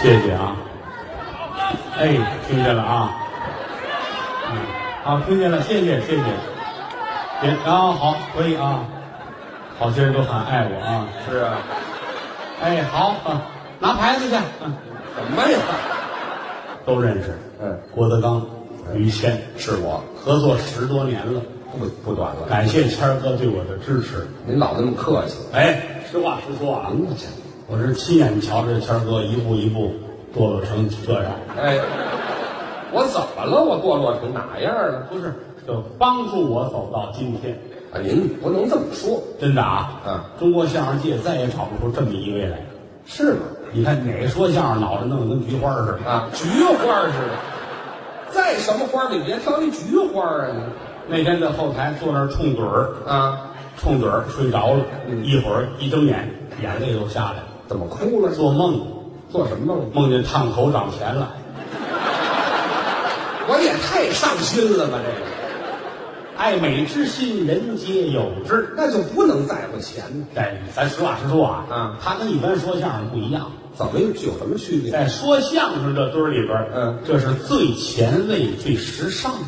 谢谢啊。哎，听见了啊。嗯，好，听见了，谢谢谢谢。别啊，好，可以啊。好些人都很爱我啊。是啊，哎，好，啊、拿牌子去。嗯、什么呀？都认识。嗯，郭德纲、于谦是我，合作十多年了，不不短了。哎感谢谦儿哥对我的支持。您老那么客气，哎，实话实说啊，您这，我是亲眼瞧着谦儿哥一步一步堕落成这样，哎，我怎么了？我堕落成哪样了？不是，就帮助我走到今天。啊，您不能这么说，真的啊，嗯，中国相声界再也找不出这么一位来。是吗？你看哪个说相声脑袋弄得跟菊花似的，啊，菊花似的，再什么花儿你别挑一菊花儿啊那天在后台坐那儿冲盹儿，你啊，冲盹儿睡着了，嗯一会儿一睁眼眼泪都下来了，怎么哭了？做梦做什么梦？梦见烫口涨钱了。我也太上心了吧，这个爱美之心，人皆有之。那就不能在乎钱呢。哎，咱实话实说啊，嗯他跟一般说相声不一样，怎么有有什么区别？在说相声这堆儿里边儿，嗯这是最前卫、最时尚的。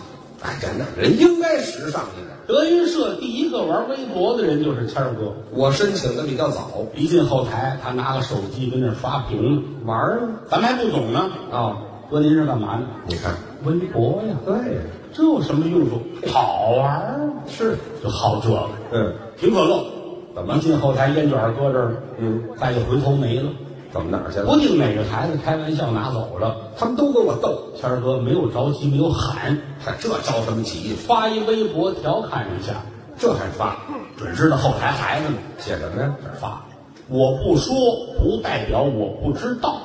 哎，真的，人应该时尚一点。德云社第一个玩微博的人就是谦儿哥，我申请的比较早，一进后台，他拿个手机跟那儿刷屏呢，玩儿啊。咱们还不懂呢。哦，哥，您是干嘛呢？你看，微博呀，对呀，这有什么用处？好玩儿啊，是，就好这个。嗯，挺可乐，怎么一进后台烟卷儿搁这儿了，嗯，再一回头没了。怎么哪儿去不了？定哪个孩子开玩笑拿走了，他们都跟我斗，谦儿哥没有着急，没有喊，嗨，这着什么急？发一微博调侃一下，这还发？准知道后台孩子们写什么呀？这儿发。我不说，不代表我不知道。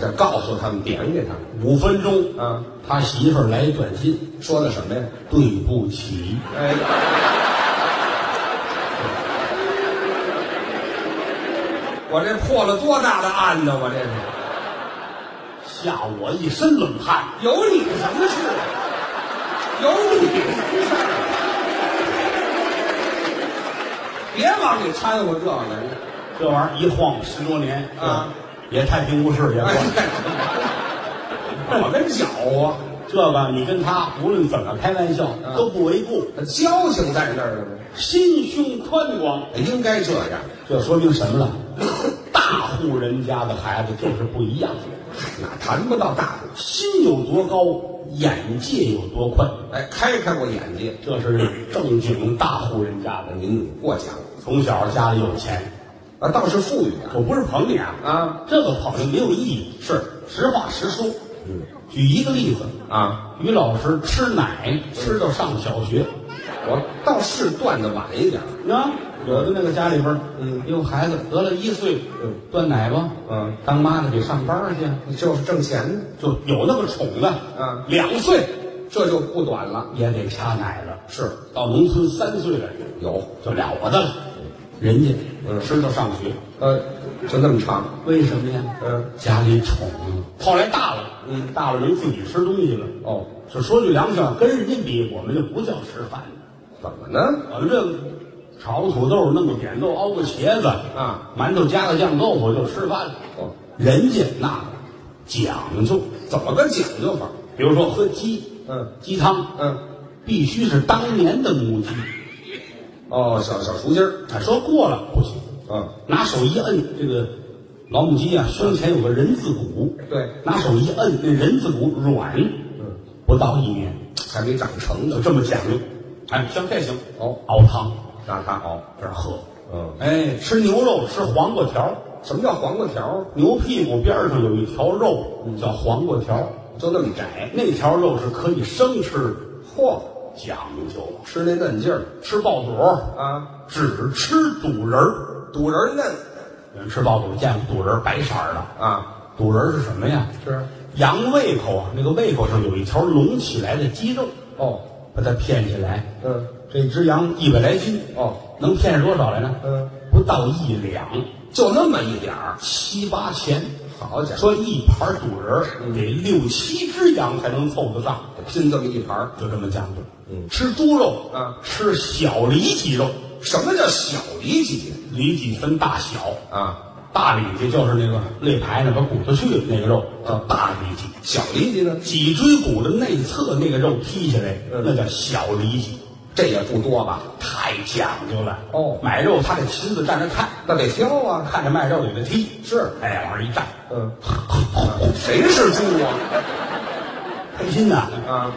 这告诉他们，点给他们。五分钟，啊，他媳妇儿来一短信，说的什么呀？对不起，哎，我这破了多大的案呢？我这是吓我一身冷汗。有你什么事？啊有你什么事啊儿？别往里掺和这个了。这玩意儿一晃十多年啊，也太平不是也哎晃。 我跟脚啊，这个你跟他无论怎么开玩笑嗯都不为过，交情在那儿呢心胸宽广，应该这样。这说明什么 了？大户人家的孩子就是不一样，哪谈不到大度？心有多高，眼界有多宽，哎，开开我眼界，这是正经大户人家的。您过奖从小家里有钱，啊，倒是富裕啊我不是捧你啊，啊，这个捧你没有意义，是实话实说。嗯举一个例子，啊，于老师吃奶吃到上小学，我倒是断的晚一点儿，啊，有的那个家里边儿，嗯有孩子得了一岁，嗯，断奶吧，嗯，当妈的得上班儿去啊，就是挣钱呢，就有那个宠的，嗯两岁这就不短了。也得掐奶了，是到农村三岁了有，就了不得了，人家嗯知道上学，呃，就那么长，为什么呀？嗯，家里宠啊，后来大了，嗯大了能自己吃东西了，哦，就说句良心话，跟人家比，我们就不叫吃饭了。怎么呢？我们这个炒个土豆，弄个扁豆，熬个茄子啊，馒头加个酱豆腐就吃饭了。哦，人家那讲究，怎么个讲究法？比如说喝鸡，嗯鸡汤，嗯，必须是当年的母鸡。哦，小小雏鸡儿，啊，说过了不行，嗯，拿手一摁这个老母鸡啊，胸前有个人字骨，嗯对，拿手一摁，那人字骨软，嗯，不到一年，还没长成呢就，这么讲究。哎，像这行哦，熬汤那它好，这儿喝，哦嗯，哎，吃牛肉吃黄瓜条儿。什么叫黄瓜条儿？牛屁股边上有一条肉叫黄瓜条，就那么窄，那条肉是可以生吃的，嚯，讲究吃那嫩劲儿吃爆肚，啊，只吃肚仁儿。肚仁儿嫩有人吃爆肚见过肚仁儿白色儿的，啊，肚仁儿是什么呀？是，羊胃口啊，那个胃口上有一条隆起来的肌肉，哦，把它片起来。嗯，这只羊一百来斤，哦，能片出多少来呢？嗯，不到一两，就那么一点儿，七八钱。好家伙！嗯说一盘肚仁儿得六七只羊才能凑得上。拼这么一盘儿，就这么讲究。嗯吃猪肉啊吃小里脊肉，什么叫小里脊里脊分大小，啊？大里脊就是那个肋排那个骨头去那个肉嗯叫大里脊，小里脊呢，脊椎骨的内侧那个肉剔下来，嗯那叫小里脊，这也不多吧？太讲究了。哦买肉他得亲自站着看，那得挑啊。看着卖肉也得剔，是哎，往上一站，嗯，谁是猪啊？开心呐，啊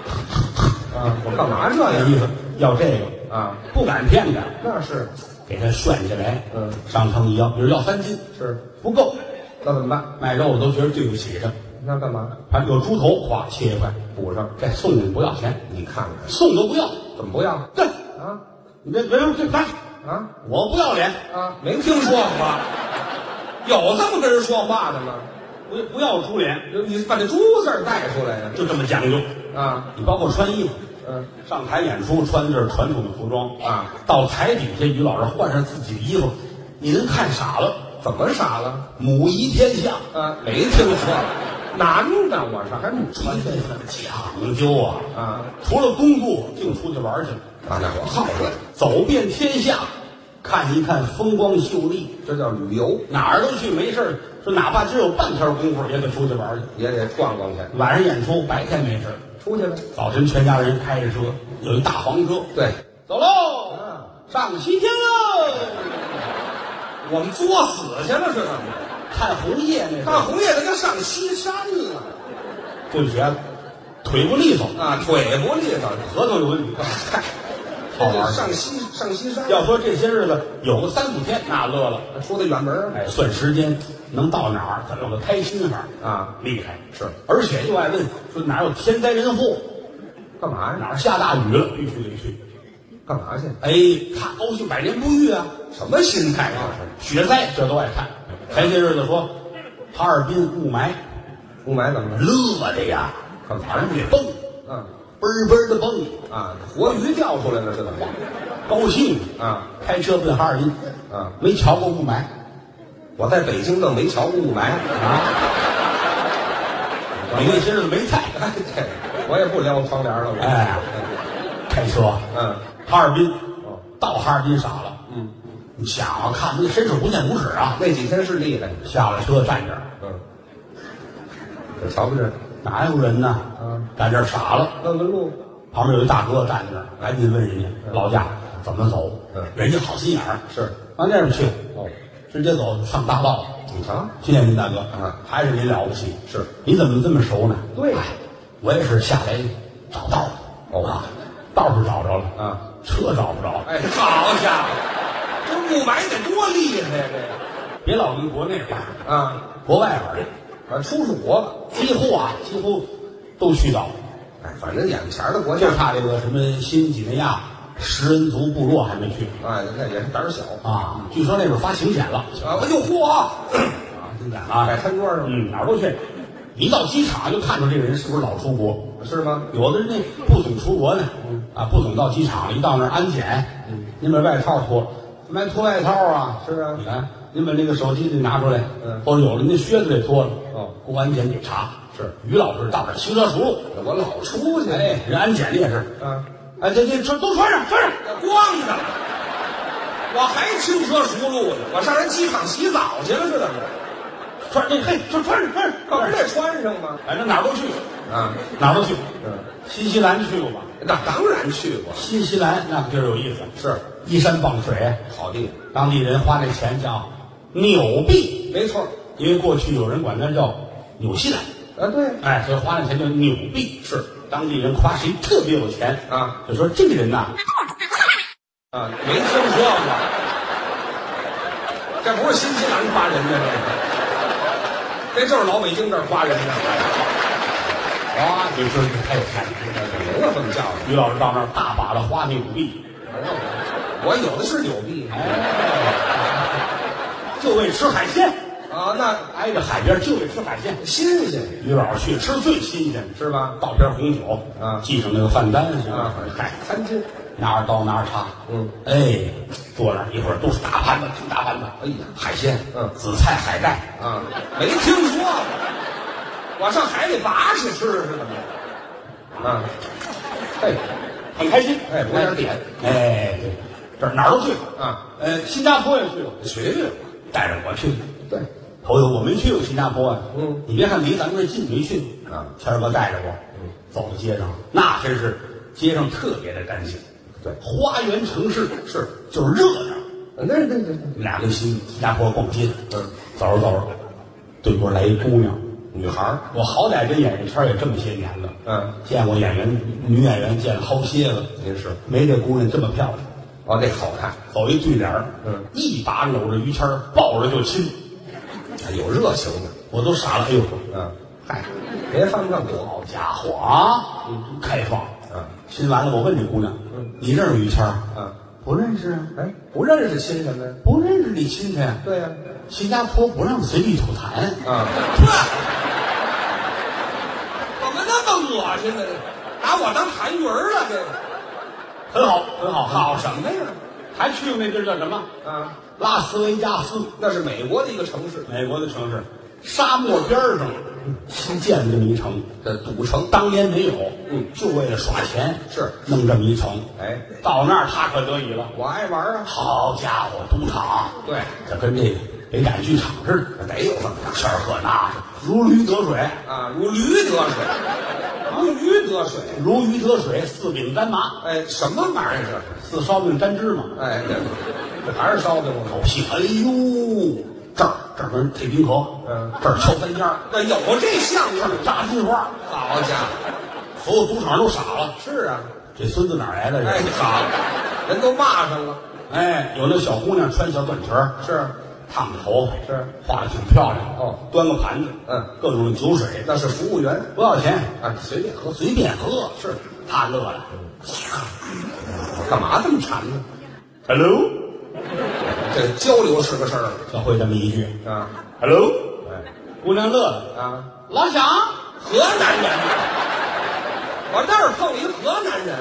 啊！我干嘛这这样意思要这个，啊？不敢骗他，那是给他炫下来，嗯，上称一要，比如要三斤，是，不够，那怎么办？卖肉的都觉得对不起他，那干嘛？啊，有猪头，咵切一块，补上，哎这送你不要钱，你看看送都不要，怎么不要对，啊你别别别来，啊我不要脸，啊？没听说过，有这么跟人说话的吗？不不要猪脸，你把这猪字儿带出来呀、就这么讲究。啊？你包括穿衣服，嗯，上台演出穿这是传统的服装啊，到台底下于老师换上自己的衣服，你能看傻了。怎么傻了？母仪天下，啊，没听说，男的我是还女穿这份讲究啊！啊？除了工作，净出去玩去了，啊，那我好问，走遍天下，看一看风光秀丽，这叫旅游，哪儿都去没事儿说哪怕只有半天功夫，也得出去玩去。也得逛逛去，晚上演出，白天没事儿出去了。早晨全家人开着车，有一大黄车，对，走喽，啊上西天喽，我们作死去了是怎么着？看红叶那大是。红叶子跟上西山了对不起啊，腿不利索，啊，腿不利 索，核桃有问题。嗨，好这玩就儿上西上西山，要说这些日子有个三五天，那乐了。出的远门儿哎，算时间能到哪儿，怎么个开心法儿啊，厉害是而且又爱问说哪有天灾人祸，干嘛呀？哪儿下大雨了，必须得去。干嘛去？哎，看高兴百年不遇啊，什么心态啊啊？雪灾这都爱看。前些日子说哈尔滨雾霾，雾霾怎么了？乐的呀，干嘛往上得蹦，嗯嘣儿嘣儿的蹦，啊，活鱼钓出来了是怎么着？高兴。啊开车奔哈尔滨，啊！没瞧过雾霾。我在北京倒没瞧过雾霾啊。你那些日子没菜，哎，对，我也不撩窗帘了，我。哎开车嗯，哈尔滨哦，到哈尔滨傻了。嗯，你想啊，看那伸手不见五指啊！那几天是厉害。下了车站这儿，嗯，我瞧不着。哪有人呢？嗯，站这儿傻了。问问路。旁边有一大哥站在那儿，赶紧问人家老家怎么走。嗯人家好心眼儿，是。往那边去，哦，直接走上大道了。你瞧，谢谢您大哥，嗯还是您了不起。是，你怎么这么熟呢？对哎我也是下来找道儿哦啊，道是找着了啊，车找不着。哎，好家伙，这雾霾得多厉害呀！这别老跟国内玩，个啊，国外玩去，啊，出出国吧。几乎啊，几乎都去到，哎，反正眼前的国家就，差这个什么新几内亚食人族部落还没去哎，那也是胆儿小啊。据说那边发请柬了，啊！我就嚯啊，啊， 请柬了摆，哎餐桌上嗯，哪儿都去。你一到机场就看出这个人是不是老出国。是吗？有的人那不总出国呢，啊，不总到机场，一到那儿安检，您把外套脱了，没脱外套啊？是啊你看，您把那个手机得拿出来，嗯或者有的您靴子得脱了，哦过安检得查。是，于老师到这儿轻车熟路，我老出去，哎，人安检的也是，啊，哎，这这穿都穿上，穿上，光着了，我还轻车熟路呢，我上人机场洗澡去了是怎么着？穿这嘿，穿穿上，穿上，可不是得穿上吗？反正哪儿都去，啊，哪儿都去。嗯，新西兰去过吧？那当然去过，新西兰那个地儿有意思，是依山傍水，好地方，当地人花那钱叫纽币。没错。因为过去有人管它叫纽西兰，啊，对，哎，所以花那钱叫纽币。是当地人夸谁特别有钱啊，就说这个人呐，啊，没听说过，这不是新西兰夸人的，这个，这就是老北京这儿夸人哎的，啊，你说你太有钱了。没有这么叫的。于老师到那儿大把的花纽币，我有的是纽币哎就为吃海鲜，啊，那挨着海边就为吃海鲜。新鲜于老师去吃最新鲜的，是吧？倒瓶红酒啊系上那个饭单行啊吗？嗨，餐巾，拿着刀拿着叉，嗯，哎，坐那儿一会儿都是大盘子，挺大盘子，哎呀海鲜，嗯紫菜、海带，啊，没听说过，我上海里拔去吃是怎么着？啊，嘿，很开心，哎我想点，哎，对，这儿哪儿都去啊，呃，新加坡也去了，学学带着我去，对，头一回我没去过新加坡呀、啊嗯你别看离咱们这儿近没去啊谦儿哥带着我，嗯，走到街上，那真是街上特别的干净，对花园城市是就是热闹。那那那我们俩跟新新加坡逛街，嗯，走着走着，对过来一姑娘，女孩儿，我好歹跟演艺圈也这么些年了，嗯，见过演员女演员见了好些个，您是没这姑娘这么漂亮。哦，那好看，走一对脸儿，嗯一把搂着于谦儿，抱着就亲，有热情的，我都傻了。哎呦，嗯，嗨，别犯不上火，好家伙啊，开放，嗯，亲完了，我问这姑娘，你认识于谦儿？嗯，不认识啊，哎，不认识亲什么呀？不认识你亲他呀？对呀、新加坡不让随地吐痰。啊，怎么那么恶心呢？拿我当痰盂儿了，这个很好，很好，好什么？么呀？还去过那地儿叫什么？啊，拉斯维加斯，那是美国的一个城市，美国的城市，沙漠边儿上新建的这么一城，这呃赌城。当年没有，嗯就为了耍钱是弄这么一城。哎，到那儿他可得意了，我爱玩啊。好家伙，赌场，对，这跟这个北展剧场似的，得有这么大这儿喝那是如驴得水，啊，如驴得水，如驴得水。如鱼得水，四饼沾麻，哎，什么玩意儿这是？四烧饼沾芝麻。哎，这这还是烧的吗？狗屁！哎呦，这儿这儿跟退冰河，嗯这儿敲三尖儿，那有这像这样？儿炸金花，好家伙！所有赌场都傻了。是啊，这孙子哪儿来的？哎，这好，人都骂上了。哎，有那小姑娘穿小短裙儿，是，烫着头发，是画的挺漂亮。哦，端个盘子，嗯，各种酒水，那是服务员不要钱，啊，随便喝。随便喝。是，他乐了。干嘛这么馋呢？ Hello，这交流是个事儿就会这么一句。啊 Hello，姑娘乐了，啊！老蒋，河南人呐，我那儿碰一河南人，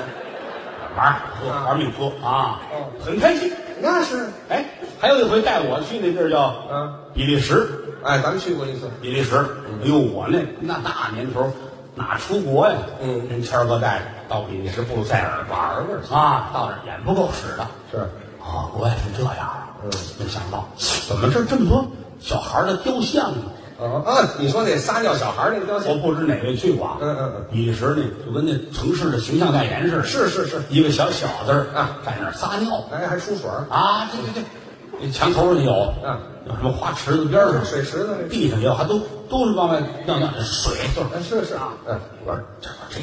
玩儿喝玩命喝啊哦，很开心。那是哎，还有一回带我去那地儿叫啊，比利时，哎，咱们去过一次，比利时。哎呦，我那那大年头哪出国呀？嗯人谦儿哥带着到比利时布鲁塞尔玩儿玩玩去啊，到那儿眼不够使的。是啊，国外是这样啊。嗯没想到怎么这儿这么多小孩儿的雕像呢？啊啊！你说那撒尿小孩儿那雕我像，不知哪位去过啊。嗯嗯嗯比利时那就跟那城市的形象代言似的。是是是，一个小小子儿啊，在那儿撒尿哎，还出水儿，啊，对对对，那墙头上有，嗯，有什么花池子边儿上。水池子那地上也有，还都都是往外尿尿，水就是。哎是是啊，嗯，我说这这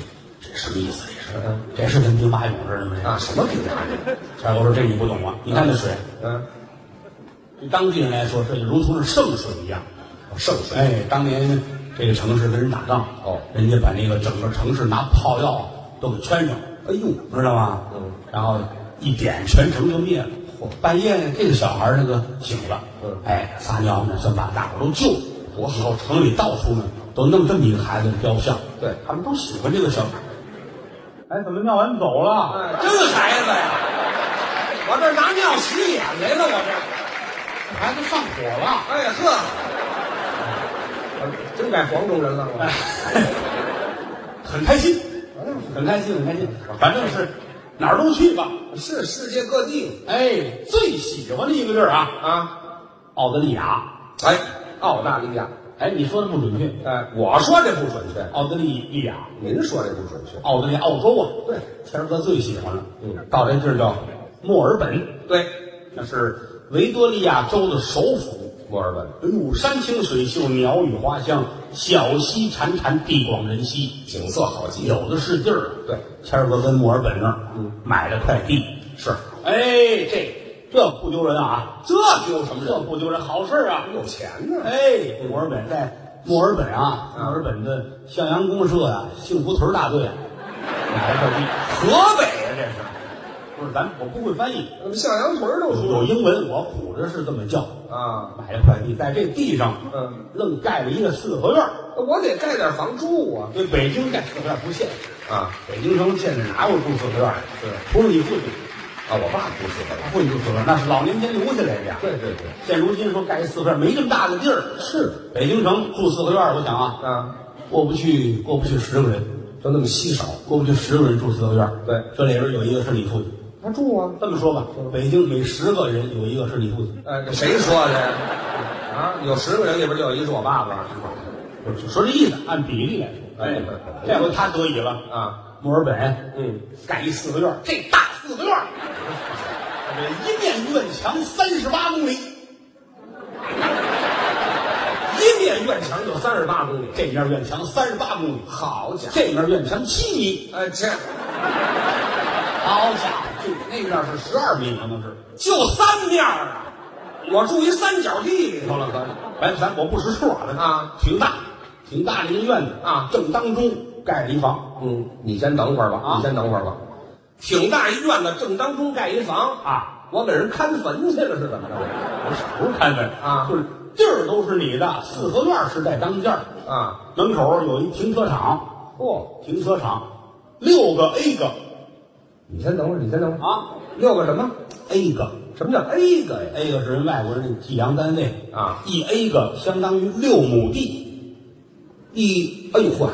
这什么意思？这是嗯这是跟兵马俑似的吗？啊，什么品牌的？这我说这你不懂啊！你看这水，嗯，对当地人来说，这就如同是圣水一样。圣水哎，当年这个城市跟人打仗，哦人家把那个整个城市拿炮药都给圈上，哎呦，知道吗？嗯，然后一点全城就灭了。嚯半夜呢，这个小孩儿那个醒了，嗯哎，撒尿呢，算把大伙儿都救了。多好以后城里到处呢都弄这么一个孩子的雕像，对他们都喜欢这个小孩。哎，怎么尿完走了？哎，真孩子呀！我这拿尿洗眼来了，我孩子上火了。这，哎呵，我真改黄种人了，哎我，很开心，很开心，很开心。反正是哪儿都去吧。是世界各地哎，最喜欢的一个地儿啊，啊，澳大利亚。哎，澳大利亚。哎，你说的不准确。哎，我说这不准确，澳大利亚，您说这不准确。澳大利亚，澳洲啊。对谦儿哥最喜欢了。嗯，到这地儿叫墨尔本，对，那是维多利亚州的首府。墨尔本哎呦，山清水秀，鸟语花香，小溪潺潺，地广人稀，景色好极了。有的是地儿。对，谦儿哥跟墨尔本那儿嗯买了块地。是哎，这这不丢人啊，这丢什么这人？不丢人，好事儿啊。有钱呢。哎，墨尔本在墨尔本啊，墨尔本的向阳公社呀、幸福屯儿大队啊买了块地。河北呀，这是啊不是咱我不会翻译，怎么向阳屯都有说英文，我唬着是这么叫。啊？买了块地，在这地上，嗯，愣盖了一个四合院儿。我得盖点房住啊。对，北京盖四合院儿不现实，啊北京城现在哪有住四合院儿的？对除了你父亲，啊，我爸不是河他父亲住四合院儿，那是老年间留下来的呀。对对对，现如今说盖一四合院儿没这么大的地儿，是北京城住四合院儿，我想啊，啊，过不去过不去十个人，就那么稀少。过不去十个人住四合院儿。对这里边有一个是你父亲。他住啊？哎这么说吧，北京每十个人有一个是你父亲。呃，谁说的呀？啊，有十个人里边就有一是我爸爸，说这意思按比例来说，哎这回他得以了。啊，墨尔本嗯，盖一四合院，这大四合院，这一面院墙三十八公里，一面院墙就三十八公里，这面院墙三十八公里，好家伙，这面院墙七米，呃，这好家伙，这那面是十二米，可能是。就三面儿啊，我住一三角地里头好了，了，咱咱我不识数啊，咱啊挺大，挺大的一个院子啊正当中盖着一房嗯，你先等会儿吧，啊你先等会儿吧，挺大一院子，正当中盖一房，啊，我给人看坟去了是怎么着？不是不是看门啊就是地儿都是你的，四合院是在当间儿啊，哦门口有一停车场，嚯、停车场六个 A 个你先等会儿，你先等会儿啊六个什么？ ，A 个什么叫 A 个呀？ A 个是人外国人的计量单位啊，一 A 个相当于六亩地，一，哎呦嚯，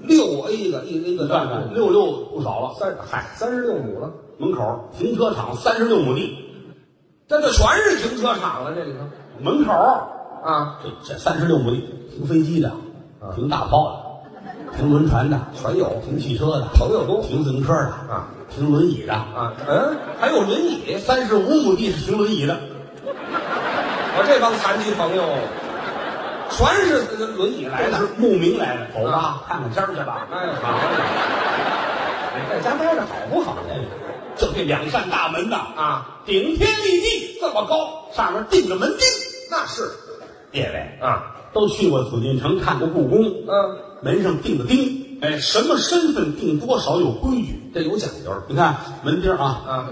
六 A 个，一 A 你个，看看六六不少了，三，嗨，三十六亩了，门口停车场三十六亩地，这就全是停车场了，这里头门口啊，这这三十六亩地，停飞机的，啊停大炮的，停轮船的，全有停汽车的，朋友多停自行车的啊，停轮椅的。啊，嗯，还有轮椅，三十五亩地是停轮椅的，我这帮残疾朋友全是轮椅来来的是。慕名来的，走吧啊，看看天儿去吧。哎，好，哎在家待着好不好呢？就这两扇大门呐，啊，顶天立地这么高，上面钉着门钉。那是列位啊，都去过紫禁城，看过故宫，嗯，门上钉着钉，哎，什么身份定多少有规矩。这有讲究你看门钉啊，啊。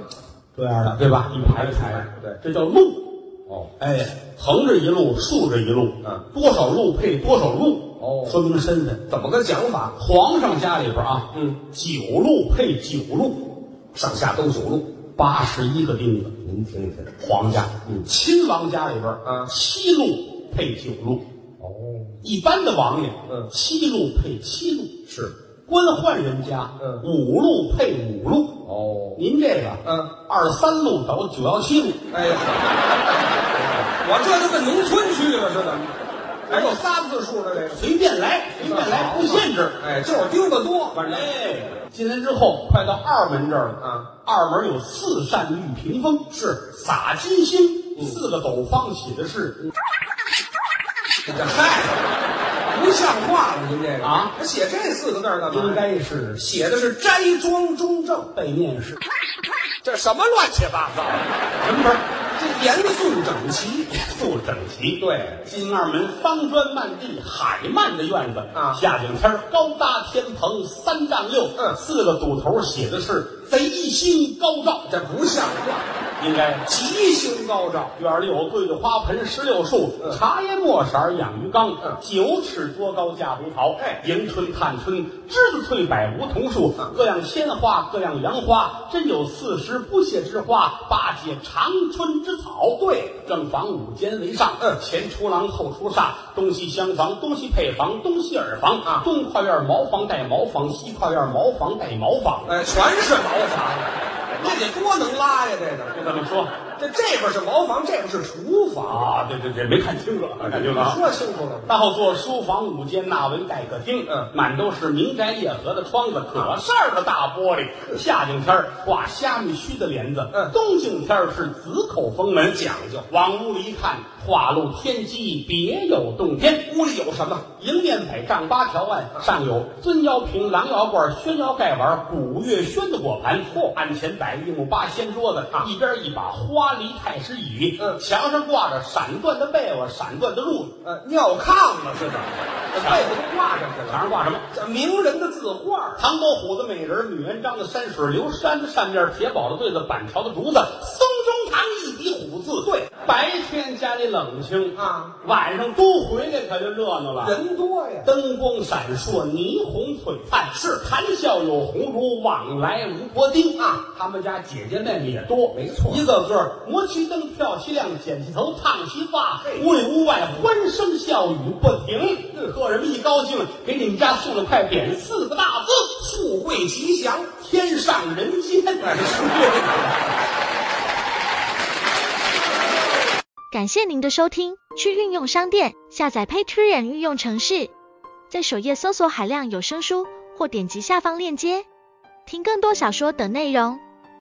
这样的对吧？一排一排的，对这叫路。哦，哎，横着一路，竖着一路，嗯，多少路配多少路，哦说明身份。怎么个讲法？皇上家里边啊，嗯，九路配九路，上下都九路，八十一个钉子。您听听。皇家，嗯亲王家里边啊七路配九路，哦，一般的王爷，嗯七路配七路，是。官宦人家，嗯五路配五路。哦，您这个，嗯，二三路走九幺七路，哎呀，我这就奔农村去了，是怎么？还有仨字数的这个，随便来，随便来，不限制。哎，就是丢的多，反正哎，进来之后，快到二门这儿了啊。二门有四扇玉屏风，是洒金星，嗯四个斗方写的是这嗨，不像话了，您这个啊，还写这四个字儿干嘛？应该是写的是斋庄中正，背面 是这什么乱七八糟的？什么门？这严肃整齐，肃整齐。对进二门方砖漫地，海漫的院子啊夏景天儿高搭天棚三丈六，嗯四个堵头写的是贼星高照，这不像话，应该。吉星高照，院里有对着花盆石榴树，嗯茶叶墨色儿养鱼缸嗯，九尺多高架胡桃，哎迎春、探春、栀子翠、百梧桐树，嗯各样鲜花，各样洋花，真有四时不谢之花，八节长春之草。对，正房五间为上，嗯前出廊后出煞，东西厢房，东西配房，东西耳房啊东跨院茅房带茅房，西跨院茅房带茅房。哎，全是茅房，那得多能拉呀，这个。就这么说这这边是茅房，这边是厨房，啊？对对对，没看清楚，没看清楚啊。说清楚了吗？到座书房五间，纳文待客厅，嗯啊满都是明宅夜合的窗子，可扇儿的大玻璃。夏景天儿挂虾米须的帘子，嗯冬景天儿是紫口封门，讲究。往屋里一看，画露天机，别有洞天。屋里有什么？啊迎面北丈八条案，上有尊窑瓶、狼窑罐、宣窑盖碗、古月轩的果盘。嚯、案前摆一木八仙桌子，一边一把花梨太师椅，啊嗯墙上挂着闪缎的被窝、闪缎的褥子，呃，尿炕了是怎么？这被子都挂上去墙了。上挂什么？这名人的字画，唐伯虎的美人，吕元璋的山水，刘山的扇面，铁宝的对子，板桥的竹子，松中堂一笔虎字。对，白天家里冷清啊，晚上都回来可就热闹了。人多呀。灯光闪烁，霓虹璀璨，是谈笑有鸿儒，往来无薄丁啊！他们家姐姐妹妹也多，没错一个个儿磨其灯，跳其亮，剪其头，烫其发嘿，屋里屋外欢声笑语不停。客人们一高兴，给你们家送了块匾，四个大字：富贵吉祥，天上人 间。哎，是感感谢您的收听，去运用商店下载 Patreon 运用城市，在首页搜索海量有声书，或点击下方链接听更多小说等内容。